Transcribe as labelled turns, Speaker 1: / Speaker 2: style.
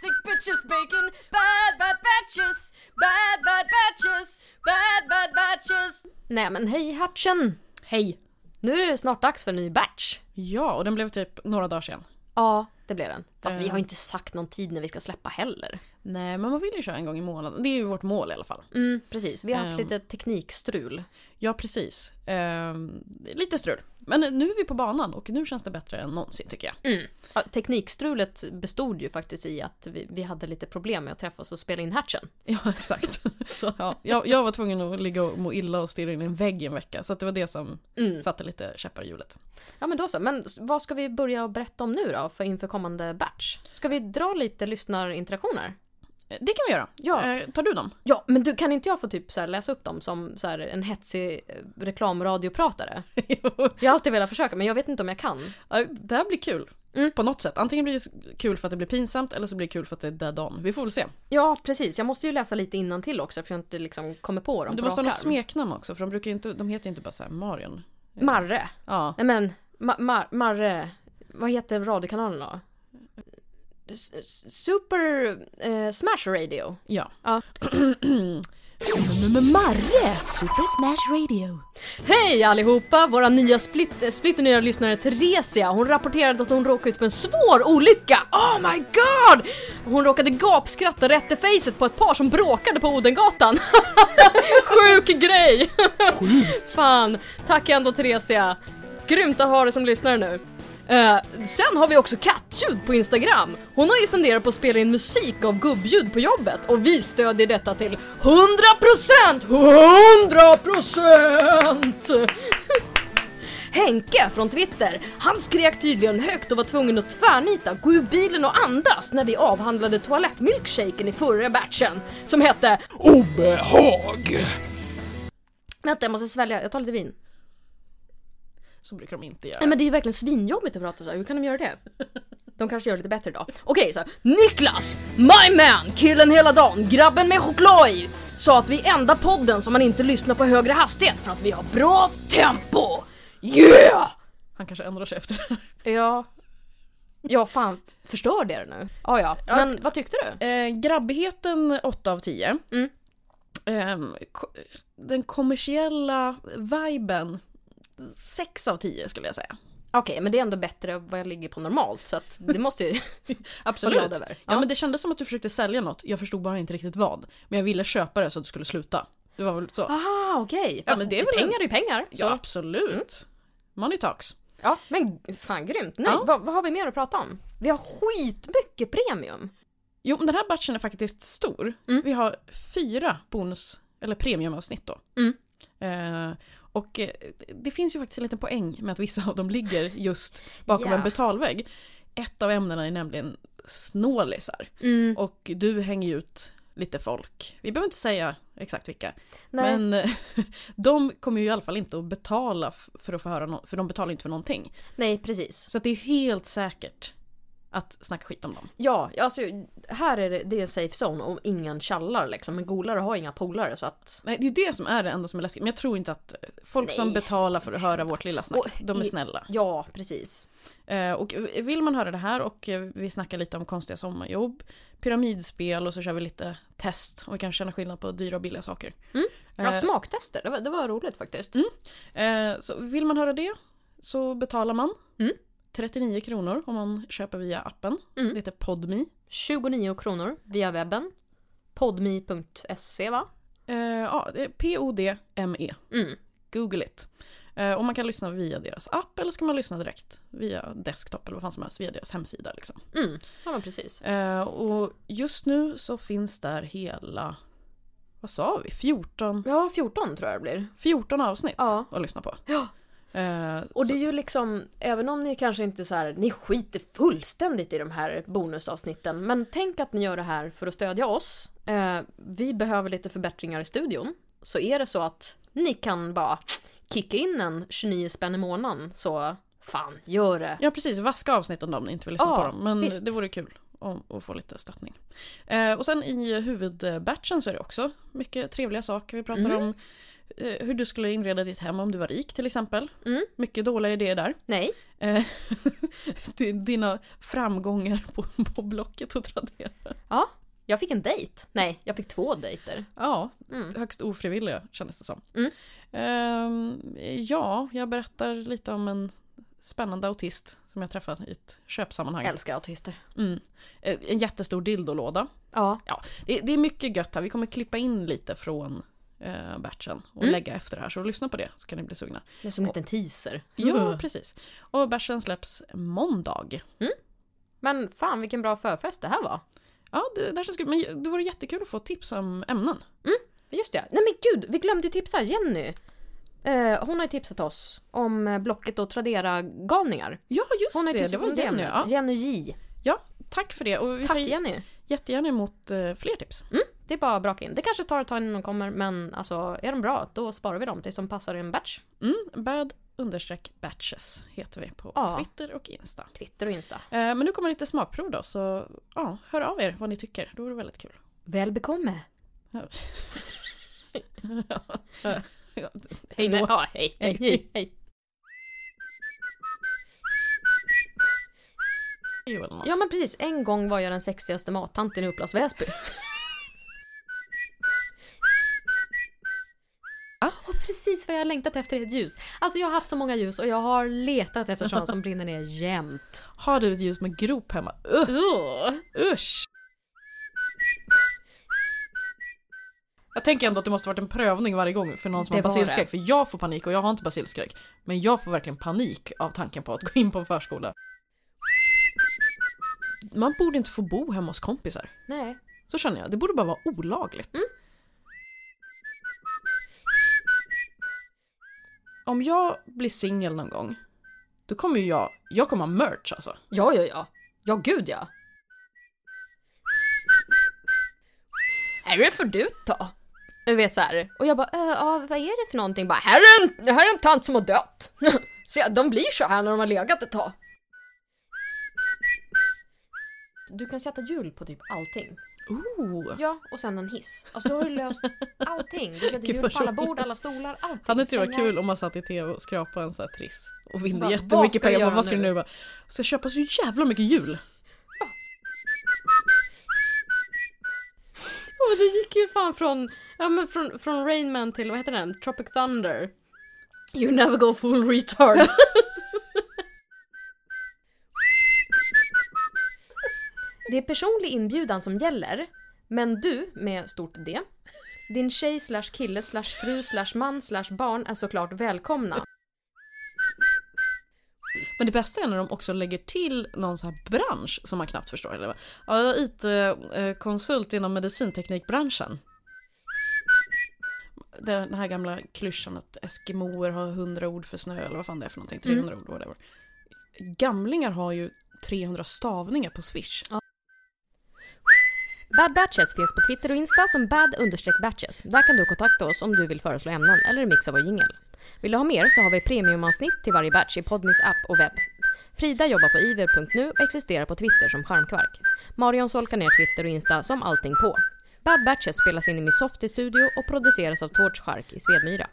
Speaker 1: sandwiches, bacon, bad bad batches, bad bad batches, bad bad batches. Nej men hej Hertzen!
Speaker 2: Hej!
Speaker 1: Nu är det snart dags för en ny batch.
Speaker 2: Ja, och den blev typ några dagar sen.
Speaker 1: Ja, det blev den. Fast vi
Speaker 2: Eh.
Speaker 1: har ju inte sagt någon tid när vi ska släppa heller.
Speaker 2: Nej, men man vill ju köra en gång i månaden. Det är ju vårt mål i alla fall.
Speaker 1: Mm, precis. Vi har haft
Speaker 2: Ehm.
Speaker 1: lite teknikstrul.
Speaker 2: Ja, precis. Ehm, lite strul. Men nu är vi på banan och nu känns det bättre än någonsin tycker jag.
Speaker 1: Mm. Ja, teknikstrulet bestod ju faktiskt i att vi, vi hade lite problem med att träffas och spela in Hertzen.
Speaker 2: Ja, exakt. Så, ja, jag, jag var tvungen att ligga och må illa och stirra in i en vägg i en vecka. Så att det var det som
Speaker 1: Mm.
Speaker 2: satte lite käppar i hjulet.
Speaker 1: Ja men då så. Men s- vad ska vi börja berätta om nu då för inför kommande batch? Ska vi dra lite lyssnarinteraktioner?
Speaker 2: Eh, Det kan vi göra.
Speaker 1: Ja.
Speaker 2: Eh, tar du dem?
Speaker 1: Ja, men du kan inte jag få typ så här läsa upp dem som så här en hetsig eh, reklamradiopratare?
Speaker 2: jo.
Speaker 1: Jag har alltid velat försöka men jag vet inte om jag kan.
Speaker 2: Ja, Det här blir kul.
Speaker 1: Mm.
Speaker 2: På något sätt. Antingen blir det kul för att det blir pinsamt eller så blir det kul för att det är dead on. Vi får väl se.
Speaker 1: Ja precis, jag måste ju läsa lite innan till också för jag inte liksom kommer på dem
Speaker 2: Men du
Speaker 1: på
Speaker 2: måste ha
Speaker 1: rak
Speaker 2: något
Speaker 1: arm.
Speaker 2: smeknamn också för de, brukar ju inte, de heter ju inte bara såhär Marion.
Speaker 1: Marre.
Speaker 2: Ja.
Speaker 1: Nej men, ma- mar- Marre. Vad heter radiokanalen då? S- s- Super eh, Smash Radio.
Speaker 2: ja.
Speaker 1: Ja.
Speaker 2: Marre! Super Smash Radio.
Speaker 1: Hej allihopa! Våra nya split, eh, splitternya lyssnare Theresia, hon rapporterade att hon råkade ut för en svår olycka. Oh my god! Hon råkade gapskratta rätt i facet på ett par som bråkade på Odengatan. Sjuk grej! Fan, tack ändå Theresia. Grymt att ha dig som lyssnare nu. Eh, sen har vi också kattljud på Instagram. Hon har ju funderat på att spela in musik av gubbljud på jobbet och vi stödjer detta till 100%! 100%! Henke från Twitter, han skrek tydligen högt och var tvungen att tvärnita, gå ur bilen och andas när vi avhandlade toalettmilkshaken i förra batchen som hette
Speaker 3: obehag.
Speaker 1: Vänta jag måste svälja, jag tar lite vin.
Speaker 2: Så brukar de inte göra.
Speaker 1: Nej men det är ju verkligen svinjobbigt att prata så här. hur kan de göra det? De kanske gör det lite bättre idag. Okej så, här. Niklas! My man! Killen hela dagen, grabben med choklad i! Sa att vi är enda podden som man inte lyssnar på högre hastighet för att vi har bra tempo! Yeah!
Speaker 2: Han kanske ändrar sig efter det här.
Speaker 1: Ja, ja fan förstörde jag det nu? Ja ja, men vad tyckte du?
Speaker 2: Eh, grabbigheten 8 av 10.
Speaker 1: Mm.
Speaker 2: Ehm, ko- den kommersiella viben 6 av 10 skulle jag säga.
Speaker 1: Okej men det är ändå bättre än vad jag ligger på normalt så att det måste ju
Speaker 2: Absolut.
Speaker 1: glad över.
Speaker 2: Ja,
Speaker 1: Ja.
Speaker 2: men det kändes som att du försökte sälja något. Jag förstod bara inte riktigt vad. Men jag ville köpa det så att du skulle sluta. Det var väl så?
Speaker 1: Aha okej, fast
Speaker 2: men det är väl
Speaker 1: pengar är ju pengar.
Speaker 2: ja,
Speaker 1: Så.
Speaker 2: absolut.
Speaker 1: Mm.
Speaker 2: Money talks.
Speaker 1: Ja, men fan grymt. Nej,
Speaker 2: Ja.
Speaker 1: vad, vad har vi mer att prata om? Vi har skitmycket premium.
Speaker 2: Jo, men den här batchen är faktiskt stor.
Speaker 1: Mm.
Speaker 2: Vi har fyra bonus eller premiumavsnitt då.
Speaker 1: Mm.
Speaker 2: Eh, och eh, det finns ju faktiskt en liten poäng med att vissa av dem ligger just bakom
Speaker 1: Ja.
Speaker 2: en betalvägg. Ett av ämnena är nämligen snålisar.
Speaker 1: Mm,
Speaker 2: Och du hänger ju ut lite folk. Vi behöver inte säga exakt vilka.
Speaker 1: nej.
Speaker 2: Men eh, de kommer ju i alla fall inte att betala f- för att få höra no- för de betalar inte för någonting.
Speaker 1: nej, precis.
Speaker 2: Så att det är helt säkert att snacka skit om dem.
Speaker 1: Ja, alltså här är det, det är en safe zone om ingen tjallar liksom. Men golare har inga polare så att...
Speaker 2: Nej, det är ju det som är det enda som är läskigt. Men jag tror inte att folk som
Speaker 1: Nej.
Speaker 2: betalar för att höra vårt lilla snack,
Speaker 1: Och
Speaker 2: de är
Speaker 1: i-
Speaker 2: snälla.
Speaker 1: Ja, precis.
Speaker 2: Eh, Och vill man höra det här och eh, vi snackar lite om konstiga sommarjobb, pyramidspel och så kör vi lite test och vi kan känna skillnad på dyra och billiga saker.
Speaker 1: Ja,
Speaker 2: Eh.
Speaker 1: smaktester. Det var, det var roligt faktiskt.
Speaker 2: Eh, Så vill man höra det så betalar man
Speaker 1: Mm.
Speaker 2: 39 kronor om man köper via appen.
Speaker 1: Mm.
Speaker 2: Det heter Podme.
Speaker 1: 29 kronor via webben. Podmi.se va?
Speaker 2: Eh, Ja, det är P-O-D-M-E.
Speaker 1: Mm.
Speaker 2: Google it. Eh, Och man kan lyssna via deras app eller ska man lyssna direkt via desktop eller vad fan som helst, via deras hemsida liksom.
Speaker 1: Mm. Ja, men precis.
Speaker 2: Eh, och just nu så finns där hela, vad sa vi, 14,
Speaker 1: Ja, 14 tror jag det blir.
Speaker 2: 14 avsnitt
Speaker 1: Ja.
Speaker 2: att lyssna på.
Speaker 1: Ja.
Speaker 2: Eh,
Speaker 1: Och det
Speaker 2: så,
Speaker 1: är ju liksom, även om ni kanske inte så här, ni skiter fullständigt i de här bonusavsnitten. Men tänk att ni gör det här för att stödja oss. Eh, vi behöver lite förbättringar i studion. Så är det så att ni kan bara kicka in en 29 spänn i månaden så fan, gör det.
Speaker 2: ja precis, vaska avsnitten om ni inte vill lyssna
Speaker 1: Ja,
Speaker 2: på dem. Men
Speaker 1: visst.
Speaker 2: det vore kul om- att få lite stöttning. Eh, och sen i huvudbatchen så är det också mycket trevliga saker. Vi pratar
Speaker 1: Mm.
Speaker 2: om eh, hur du skulle inreda ditt hem om du var rik till exempel.
Speaker 1: Mm.
Speaker 2: Mycket dåliga idéer där.
Speaker 1: Nej.
Speaker 2: Eh, di- Dina framgångar på, på Blocket och Tradera.
Speaker 1: Ja, jag fick en dejt. Nej, jag fick två dejter.
Speaker 2: Ja,
Speaker 1: Mm.
Speaker 2: högst ofrivilliga kändes det som.
Speaker 1: Mm.
Speaker 2: Ehm, ja, jag berättar lite om en spännande autist som jag träffade i ett köpsammanhang.
Speaker 1: Älskar autister.
Speaker 2: Mm. Eh, En jättestor dildolåda.
Speaker 1: Ja.
Speaker 2: Det, det är mycket gött här, vi kommer klippa in lite från eh, batchen och
Speaker 1: Mm.
Speaker 2: lägga efter det här. Så lyssna på det så kan ni bli sugna.
Speaker 1: Det är som en liten teaser. Mm.
Speaker 2: Ja, precis. Och batchen släpps måndag.
Speaker 1: Men fan vilken bra förfest det här var.
Speaker 2: Ja, det, det, här känns kul, men det vore jättekul att få tips om ämnen.
Speaker 1: Just det, nej men gud, vi glömde ju tipsa Jenny. Eh, hon har ju tipsat oss om eh, Blocket och Tradera-galningar.
Speaker 2: Ja, just
Speaker 1: Hon typ har ju
Speaker 2: det.
Speaker 1: tipsat
Speaker 2: Det
Speaker 1: om
Speaker 2: var Jenny.
Speaker 1: ämnet.
Speaker 2: Ja, Mm,
Speaker 1: Jenny J.
Speaker 2: tack för det. Och vi
Speaker 1: Tack
Speaker 2: tar
Speaker 1: Jenny.
Speaker 2: jättegärna emot eh, fler tips.
Speaker 1: Det är bara att braka in. Det kanske tar ett tag innan de kommer men alltså är de bra då sparar vi dem tills de passar i en batch.
Speaker 2: Mm, bad understreck batches heter vi på
Speaker 1: Ja.
Speaker 2: Twitter och Insta. Eh,
Speaker 1: Twitter och Insta.
Speaker 2: men nu kommer lite smakprov då, så ja, hör av er vad ni tycker. Det vore väldigt kul.
Speaker 1: Väl bekomme.
Speaker 2: Hej då!
Speaker 1: Ja, hej, hej, hej, hej.
Speaker 2: Eller något.
Speaker 1: Ja men precis, en gång var jag den sexigaste mattanten i Upplands Väsby. Och precis vad jag har längtat efter är ett ljus. Alltså jag har haft så många ljus och jag har letat efter sådana som brinner ner jämt.
Speaker 2: Har du ett ljus med grop hemma? Uh,
Speaker 1: Ugh.
Speaker 2: usch! Jag tänker ändå att det måste varit en prövning varje gång för någon som
Speaker 1: Det
Speaker 2: har
Speaker 1: var
Speaker 2: basilskräck. För jag får panik och jag har inte basilskräck. Men jag får verkligen panik av tanken på att gå in på en förskola. Man borde inte få bo hemma hos kompisar.
Speaker 1: Nej.
Speaker 2: Så känner jag. Det borde bara vara olagligt.
Speaker 1: Mm.
Speaker 2: Om jag blir singel någon gång, då kommer ju jag, jag kommer ha merch alltså.
Speaker 1: Ja, ja, ja. Ja, gud ja. Är det för du då? Du vet så här. Och jag bara, äh, ja, vad är det för någonting? Bara, här är en, det här är en tant som har dött. Se, de blir så här när de har legat ett tag. Du kan sätta hjul på typ allting.
Speaker 2: Ooh.
Speaker 1: Ja, och sen en hiss. Alltså du har ju löst allting. Du sätter
Speaker 2: Gud,
Speaker 1: hjul
Speaker 2: vad
Speaker 1: på alla
Speaker 2: roligt.
Speaker 1: bord, alla stolar, allting.
Speaker 2: Hade inte det varit
Speaker 1: Sängar.
Speaker 2: kul om man satt i tv och skrapade en sån här triss och vinner
Speaker 1: Vad- vad ska
Speaker 2: jättemycket
Speaker 1: jag
Speaker 2: pengar
Speaker 1: göra
Speaker 2: på vad ska du
Speaker 1: nu?
Speaker 2: nu bara, ska jag köpa så jävla mycket jul?
Speaker 1: Och det gick ju fan från, ja, men från, från Rain Man till, vad heter den, Tropic Thunder. You never go full retard. det är personlig inbjudan som gäller, men du, med stort D, din tjej slash kille slash fru slash man slash barn är såklart välkomna.
Speaker 2: Men det bästa är när de också lägger till någon sån här bransch som man knappt förstår. Eller? vad. Ja, jag är IT-konsult inom medicinteknikbranschen. Det är Den här gamla klyschan att eskimoer har 100 ord för snö eller vad fan det är för
Speaker 1: Mm.
Speaker 2: någonting. 300 ord whatever. Gamlingar har ju 300 stavningar på swish.
Speaker 1: Bad Batches finns på Twitter och Insta som bad-batches. Där kan du kontakta oss om du vill föreslå ämnen eller mixa vår jingel. Vill du ha mer så har vi premiumavsnitt till varje batch i Podmis app och webb. Frida jobbar på iver.nu och existerar på Twitter som Charmkvark. Marion solkar ner Twitter och Insta som allting på. Bad Batches spelas in i min Softie-studio och produceras av Torch Shark i Svedmyra.